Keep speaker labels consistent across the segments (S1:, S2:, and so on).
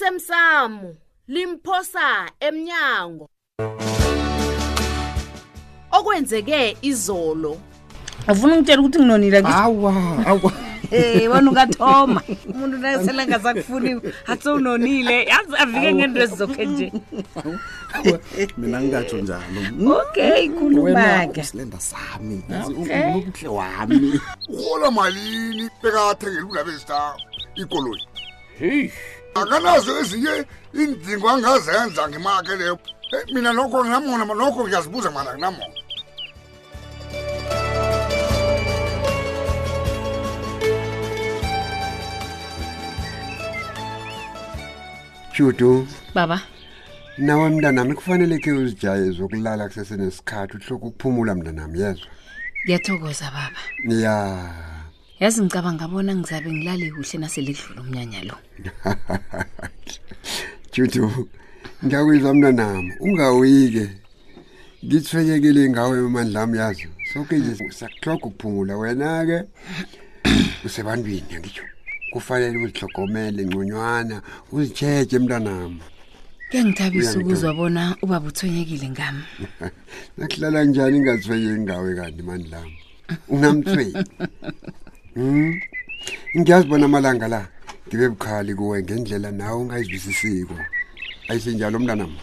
S1: osemsamo limphosa emnyango okwenzeke izolo
S2: ufuna ungitshela ukuthi nginonile
S3: Ah.
S4: awa awa
S2: Eh wena ungathoma umuntu naye selangasakufuni atse unonile yazi afike ngento ezizokhe nje
S4: awa. mina ngingatsho njalo
S2: okay khuluma-ke
S4: usilenda sami
S2: Okay.
S4: ubuhle wami
S5: urhola malini bekathengela undaba ezita ikoloyi akanazo ezinye iindingo angazenza ngemake leyo Eh, mina nokho nginamona nokho ngiyazibuza mana nginamona
S3: Judo,
S2: baba
S3: nawe mntanami kufanele ke uzijaye zokulala kusesenesikhathi uhloko ukuphumula mntanami yezwa.
S2: ngiyathokoza baba
S3: Ya,
S2: yazi ngicabanga ngabona ngizabe ngilale kuhle naselidlula umnyanya lo
S3: Judo, ngiyakuzwa mntanami, ungawike. Ngithwenyekile ngawe amandla ami yazo. Sonke nje sakuhloka ukuphumula wena ke. Usebantwini ngisho. Kufanele uzihlogomele ngconywana, uzitsheje mntanami.
S2: kuyangithabisa
S3: Uyangithola.
S2: ukuzwa bona ubaba uthonyekile ngami
S3: Nakuhlala njani ingathwenyeki ngawe kanti mandlami. Unamthweni. Mhm. Ngiyazibona amalanga la ngibe bukhali kuwe ngendlela nawe ungayizwisisiko. Ayisinjalo mntanami.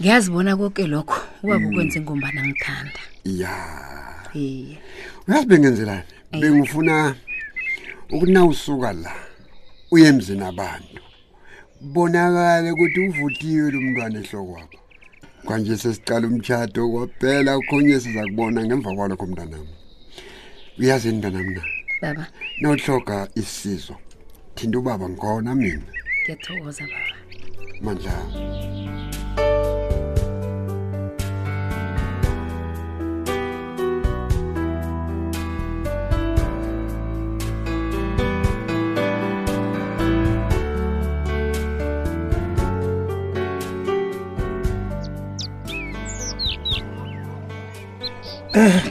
S2: ngiyazibona konke lokho ubaba ukwenze ngombana ngithanda
S3: Ya.
S2: iye
S3: Uyazi bengenzelani? Bengifuna ukuna usuka la. Uye emzini abantu. Bonakale ukuthi uvuthiwe lo mntwana ehlokwakho. Kanje sesiqala umtshado kwaphela ukhonye sizakubona ngemva kwalokho mntanami. Uyazi mntanami na?
S2: baba
S3: Nohloka isizo. Thinta ubaba ngona mina.
S2: ngiyathokoza baba
S3: Mandla.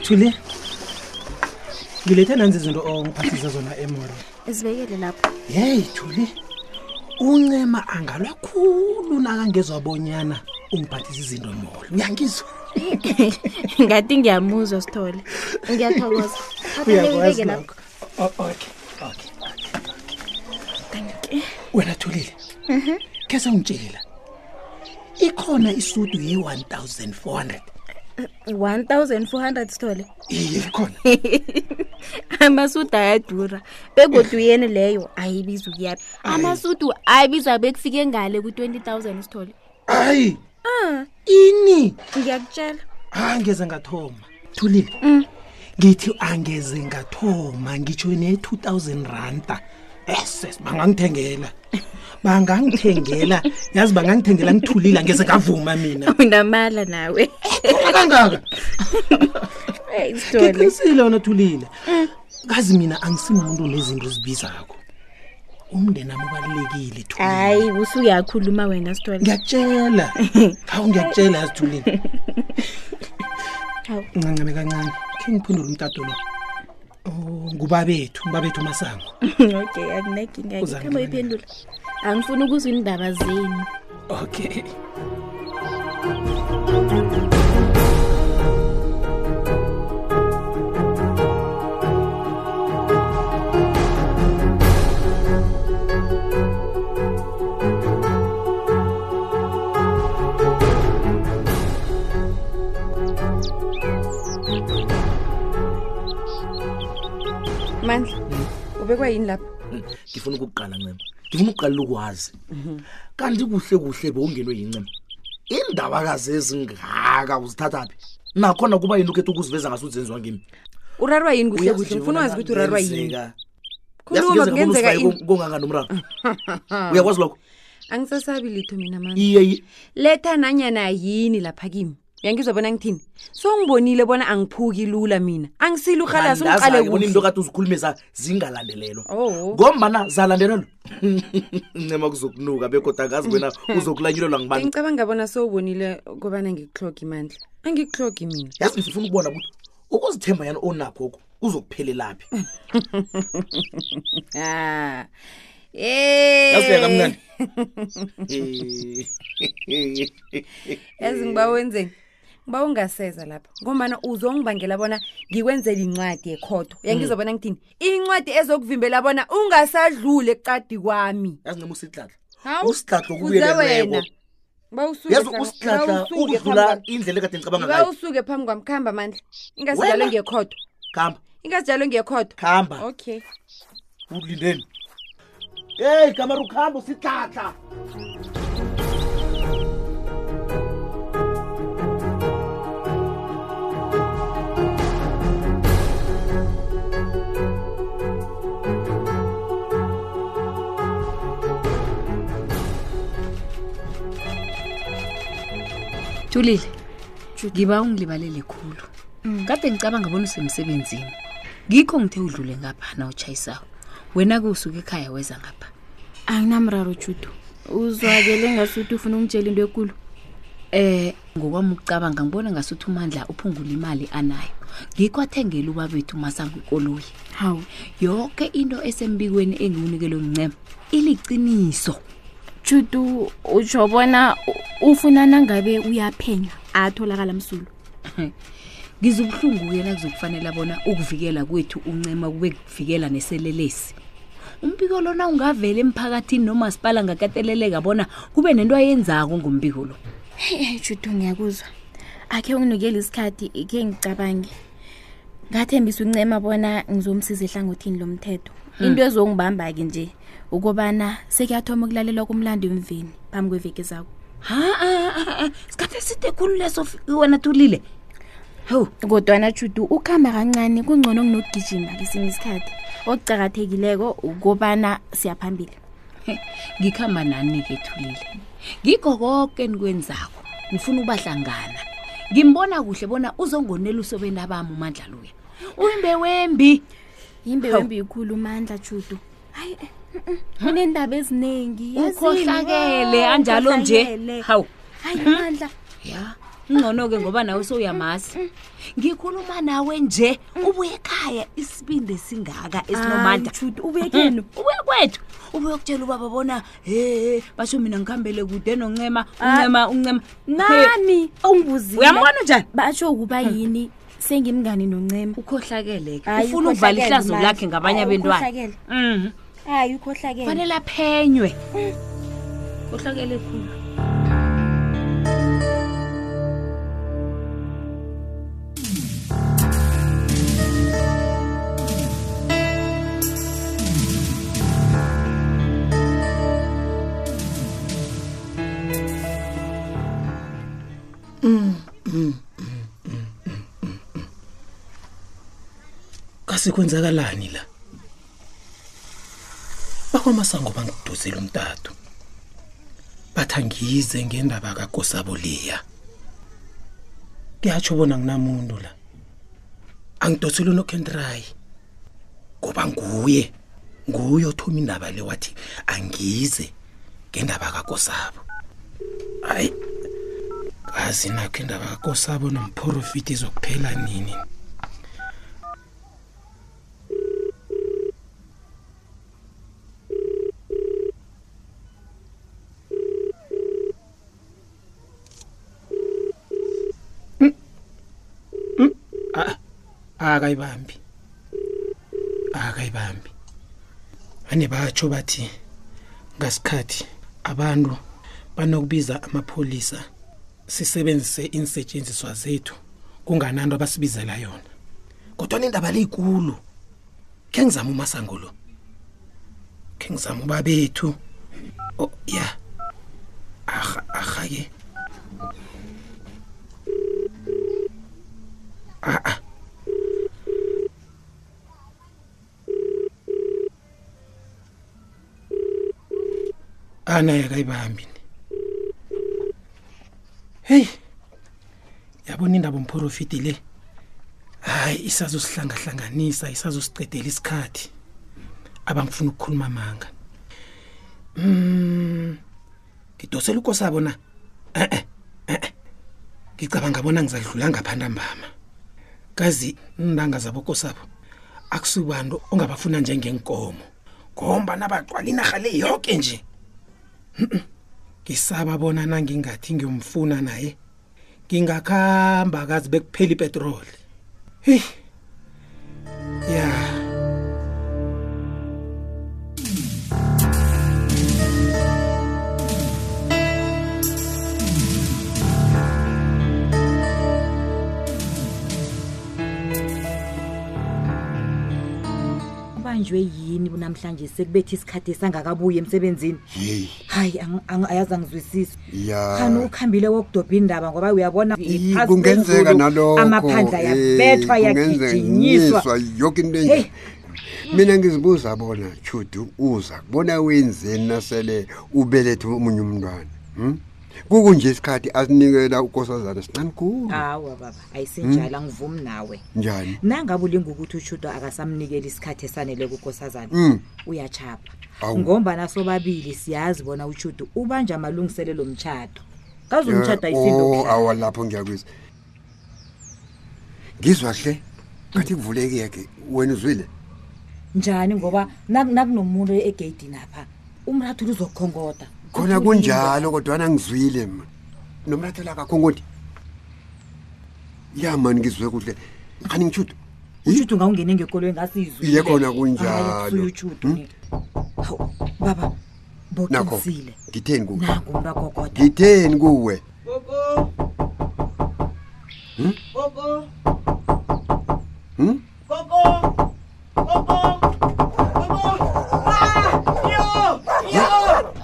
S6: thule ngilethe nanzi izinto ongiphathise zona emoro
S7: Izibekele lapho.
S6: yeyi thule uncema angalwa khulu nakangezwabonyana ungiphathise izinto molo uyangizwa
S7: Ngathi ngiyamuzwa Sithole. Ngiyathokoza.
S6: uyakwazi
S7: Uyabeke
S6: lokho
S7: lapho.
S6: O- okay okay wena thulile khe sewungitshela ikhona isudu ye-1 400
S7: 1400 Sithole.
S6: iye ikhona
S7: Amasudu ayadura. Begodu yene leyo ayibizi kuyapi. Amasudu ayibiza bekufike ngale ku20000 Sithole.
S6: hayi ini
S7: Ngiyakutshela.
S6: angeze ngathoma thulile ngithi angeze ngathoma ngitsho ne-2000 randa eses bangangithengela bangangithengela yazi bangangithengela ngithulile angeze ngavuma mina
S7: Unamala nawe.
S6: Khona kangaka
S7: Hey Sithole.
S6: ngiqinisile wona thulile kazi mina angisimuntu nezinto ezibizakho umndeni ami ubalulekile thulile
S7: Hayi usuyakhuluma wena Sithole.
S6: ngiyakutshela hawu ngiyakutshela yazi thulile
S7: Hawu.
S6: ncancame kancane khe ngiphendule umtato lo Oh, ngubabethu ngubabethu masango
S7: Okay akunakinga.
S6: Uza
S7: Ngikhamba
S6: ngiphendula.
S7: iphendula. Angifuni ukuzwa indaba zenu.
S6: okay
S8: mandla ubekwa yini lapha
S9: ngifuna ukukuqala ncema ngifuna ukuqalela ukwazi kanti kuhle kuhle bewungenwe yincema iindabakazi ezingaka uzithatha phi nakhona kuba yini ukhetha ukuziveza ngase uzenziwa ngimi
S8: urarwa yini kuhle
S9: Uyazi nje
S8: kuhle
S9: bona
S8: ngifuna wazi ukuthi urarwa yini
S9: kungenzeka- Yazi
S8: khuluma
S9: kungenzeka bona
S8: kungenzeka
S9: usifaye
S8: ini
S9: kon- kongaka nomraro uyakwazi lokho
S8: angisasabi litho mina mani
S9: iye iye.
S8: letha nanyana yini lapha kimi uyangizwa bona ngithini songibonile bona angiphuki lula mina angisile urhalasi ungiqale
S9: Mandazi-ke bona into
S8: kuhle
S9: kade uzikhulume za- zingalandelelwa
S8: Oh.
S9: ngombana zalandelelwa ncema kuzokunuka begoda ngazi wena uzokulanyulelwa ngibani
S8: ngicabanga bona sowubonile kobana ngikuhlogi mandla angikuhlogi mina
S9: yazi ngifuna ukubona ukuthi ukuzithemba yana onakho oko kuzokuphelelaphi
S8: ah
S2: Eh.
S9: yazi Eh, yakamnani
S8: e yazi ngiba wenzeni ngiba ungaseza lapha ngombana uzongibangela bona ngikwenzela incwadi yekhodo yangizobona ngithini incwadi ezokuvimbela bona ungasadlule eqadi kwami
S9: yazi ncima usihlahla
S8: Hawu,
S9: usihlahla
S8: uze wena
S9: okubuyeleleko
S8: Ba usuke
S9: yazi
S8: Hlaba,
S9: usihlahla
S8: ba usuke
S9: ukudlula
S8: phambi kwami.
S9: indlela ekade ngicabanga
S8: Ba
S9: ngayo
S8: usuke phambi kwami khamba amandla
S9: Wena?
S8: ingazijalo ngekhodo
S9: khamba
S8: ingazijalo ngekhodo
S9: khamba
S8: okay
S9: ulindeni eyi kamari ukhamba usihlahla
S2: thulile ngiba ungilibalele khulu kade ngicabanga bona usemsebenzini ngikho ngithe udlule ngaphana utshayisayo wena-ke usuke ekhaya weza ngapha
S7: anginamraro judu uzwakele ngasuthi ufuna ungitshela into ekulu
S2: um ngokwami ukucabanga ngibona ngasuthi umandla uphungula imali anayo ngikho athengela ubabethu umasangukoloyi
S7: hawu
S2: yonke into esembikweni engiwunikelwe ngincema iliciniso
S7: judu utsho bona u- ufuna nangabe uyaphenya atholakala msulu
S2: ngizobuhlungu-ke nakuzokufanele bona ukuvikela kwethu uncema kube kuvikela neselelesi umbiko lona ungavela emphakathini nomasipala ngakateleleka bona kube nento ayenzako ngombiko lo
S7: heyi heyi judu ngiyakuzwa akhe unginikela isikhathi ikhe ngicabange ngathembisa uncema bona ngizomsiza ehlangothini lomthetho into ezongibamba-ke nje ukubana sekuyathoma ukulalelwa kumlando emveni phambi kweveki zakho
S2: ha sikhathi eside khulu leso fi- wena thulile hewu
S7: kodwana judu ukuhamba kancane kungcono kunokugijima kesinye isikhathi okucakathekileko ukobana siyaphambili
S2: ngikhamba nani-ke thulile ngikho konke nikwenzako ngifuna ubahlangana ngimbona kuhle bona uzongonela usobeni abami umandla luya wembe wembi
S7: yimbe
S2: Hawu.
S7: wembiyikhulu mandla judu hayi mm, mm, uneendaba eziningi
S2: ukhohlakele
S7: Oh,
S2: anjalo nje hawu
S7: hayi mandla
S2: ya ngcono-ke ngoba nawe sowuyamazi ngikhuluma nawe nje ubuye ekhaya isibindi singaka esinomandla
S7: judu ubuye kenu
S2: ubuye kwethu ubuye kutshela ubaba bona he basho mina ngihambele kude noncema uncema uncema He,
S7: nami ongibuzile
S2: uyambona njani Hmm.
S7: batsho ukuba yini sengimngani noncema
S2: ukhohlakele-ke
S7: Hayi,
S2: ufuna ukuvala
S7: ukhohlakele
S2: ihlazo
S7: manje.
S2: lakhe ngabanye
S7: Hayi,
S2: abentwana
S7: ukhohlakele.
S2: Mhm.
S7: hayi ukhohlakele
S2: kufanele aphenywe khohlakele khulu
S6: kasekwenzakalani la bakwamasango bangiduzile umtato bathangize ngendaba kagosaboliya kuyatsho bona nginamuntu la angidosile unokentrayi ngoba nguye nguye othoma indaba le wathi angize ngendaba kakosabo hayi kazi nakho indaba kakosabo nomphorofiti izokuphela nini akayibambi akayibambi ane batsho bathi ngasikhathi abantu banokubiza amapholisa sisebenzise insetshenziswa zethu kungananto abasibizela yona kodwa nendaba leyikulu khe ngizama umasango lo khe ngizama uba bethu o ya arha arha-ke a-a anaye akayibambi ni. heyi yabona indaba umphorofiti le hayi isazosihlangahlanganisa isazosiqedela isikhathi abangifuna ukukhuluma manga mm ngidosela ukosabo na e-e e-e. ngicabanga bona ngizadlula ngaphandambama kazi indanga zabokosabo akusubantu ongabafuna njengenkomo
S10: gomba nabagcwala inarha le yoke nje Mhm. ngisaba bona nangingathi ngiyomfuna naye ngingakhamba kazi bekuphela ipetroli heyi ya yeah.
S11: ubanjwe yini namhlanje sekubetha isikhathi sangakabuyi emsebenzini
S3: heyi
S11: hayi ang- ang- ayazi angizwisisi
S3: Ya.
S11: khani ukuhambile wokudobha indaba ngoba uyabona
S3: Yi,
S11: phasi
S3: kungenzeka
S11: kwezulu,
S3: nalokho
S11: amaphandla
S3: eh,
S11: yabethwa
S3: kungenzeka,
S11: yagijinyiswa
S3: yinyiswa, yoke into enje mina ngizibuza bona judu uza kubona wenzeni nasele ubelethe omunye umntwana hmm? kukunje isikhathi asinikela ukosazana sincane khulu
S11: awa baba ayisinjalo angivumi nawe
S3: njani
S11: nangabe ulinga ukuthi ushuto akasamnikeli isikhathi esanele kukosazana
S3: Mm.
S11: uyachapha
S3: Awu.
S11: ngombana sobabili siyazi bona ushuto ubanje amalungiselelo mtshato kaze
S3: Eh,
S11: umtshato
S3: oh,
S11: ayisinto
S3: awa lapho ngiyakwisa ngizwa hle ngathi kuvulekeke wena uzwile
S11: njani ngoba nak- nakunomuntu egeyidini apha umrathula uzokhongoda
S3: khona kunjalo kodwana ngizwile ma nomrathela kakhongodi ya mani ngizwe kuhle khani ngishudo
S11: ushudo ungawungene ngekoloyi ngasiyizwile
S3: iye khona
S11: Hayi,
S3: kunjalo
S11: akusuye utshudo
S3: Hmm?
S11: hawu baba
S3: nakho
S11: boqinisile
S3: ngitheni kuwe
S11: nangu umntu agogoda
S3: ngitheni kuwe
S12: Gogo.
S3: Hmm?
S12: Gogo.
S3: Hmm?
S12: Gogo. Gogo. Gogo. Ah! Yo! Yo!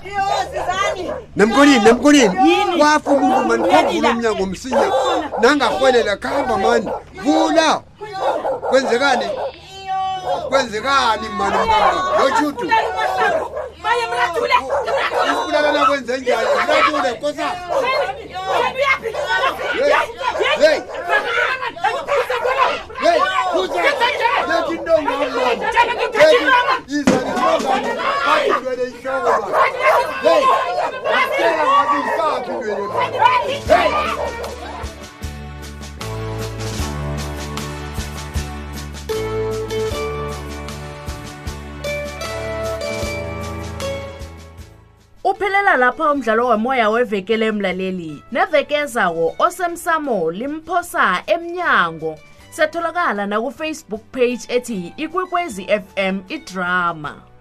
S12: Yo, Sizani!
S3: namkonini namkonini
S12: Yini?
S3: kwafukuku mani
S12: Uyalila.
S3: kwavula umnyango msinya nangarhwelela khamba mani vula kwenzekani kwenzekani mani mkamba yojudu
S12: Maye mrathule.
S3: isibulalana kwenze njani mratule kosa
S12: Wena uyaphi?
S3: hey hey kuza lethi intonga mani lethi yiza nentonga bathi ndwele ihloko mani hey akutela ngathi yisaphi ndwele mani hey
S1: Uphelela lapha umdlalo womoya wevekele emlaleli. Nevekezawo osemsamo limphosa emnyango. Setholakala na ku Facebook page ethi Ikwekwezi FM iDrama.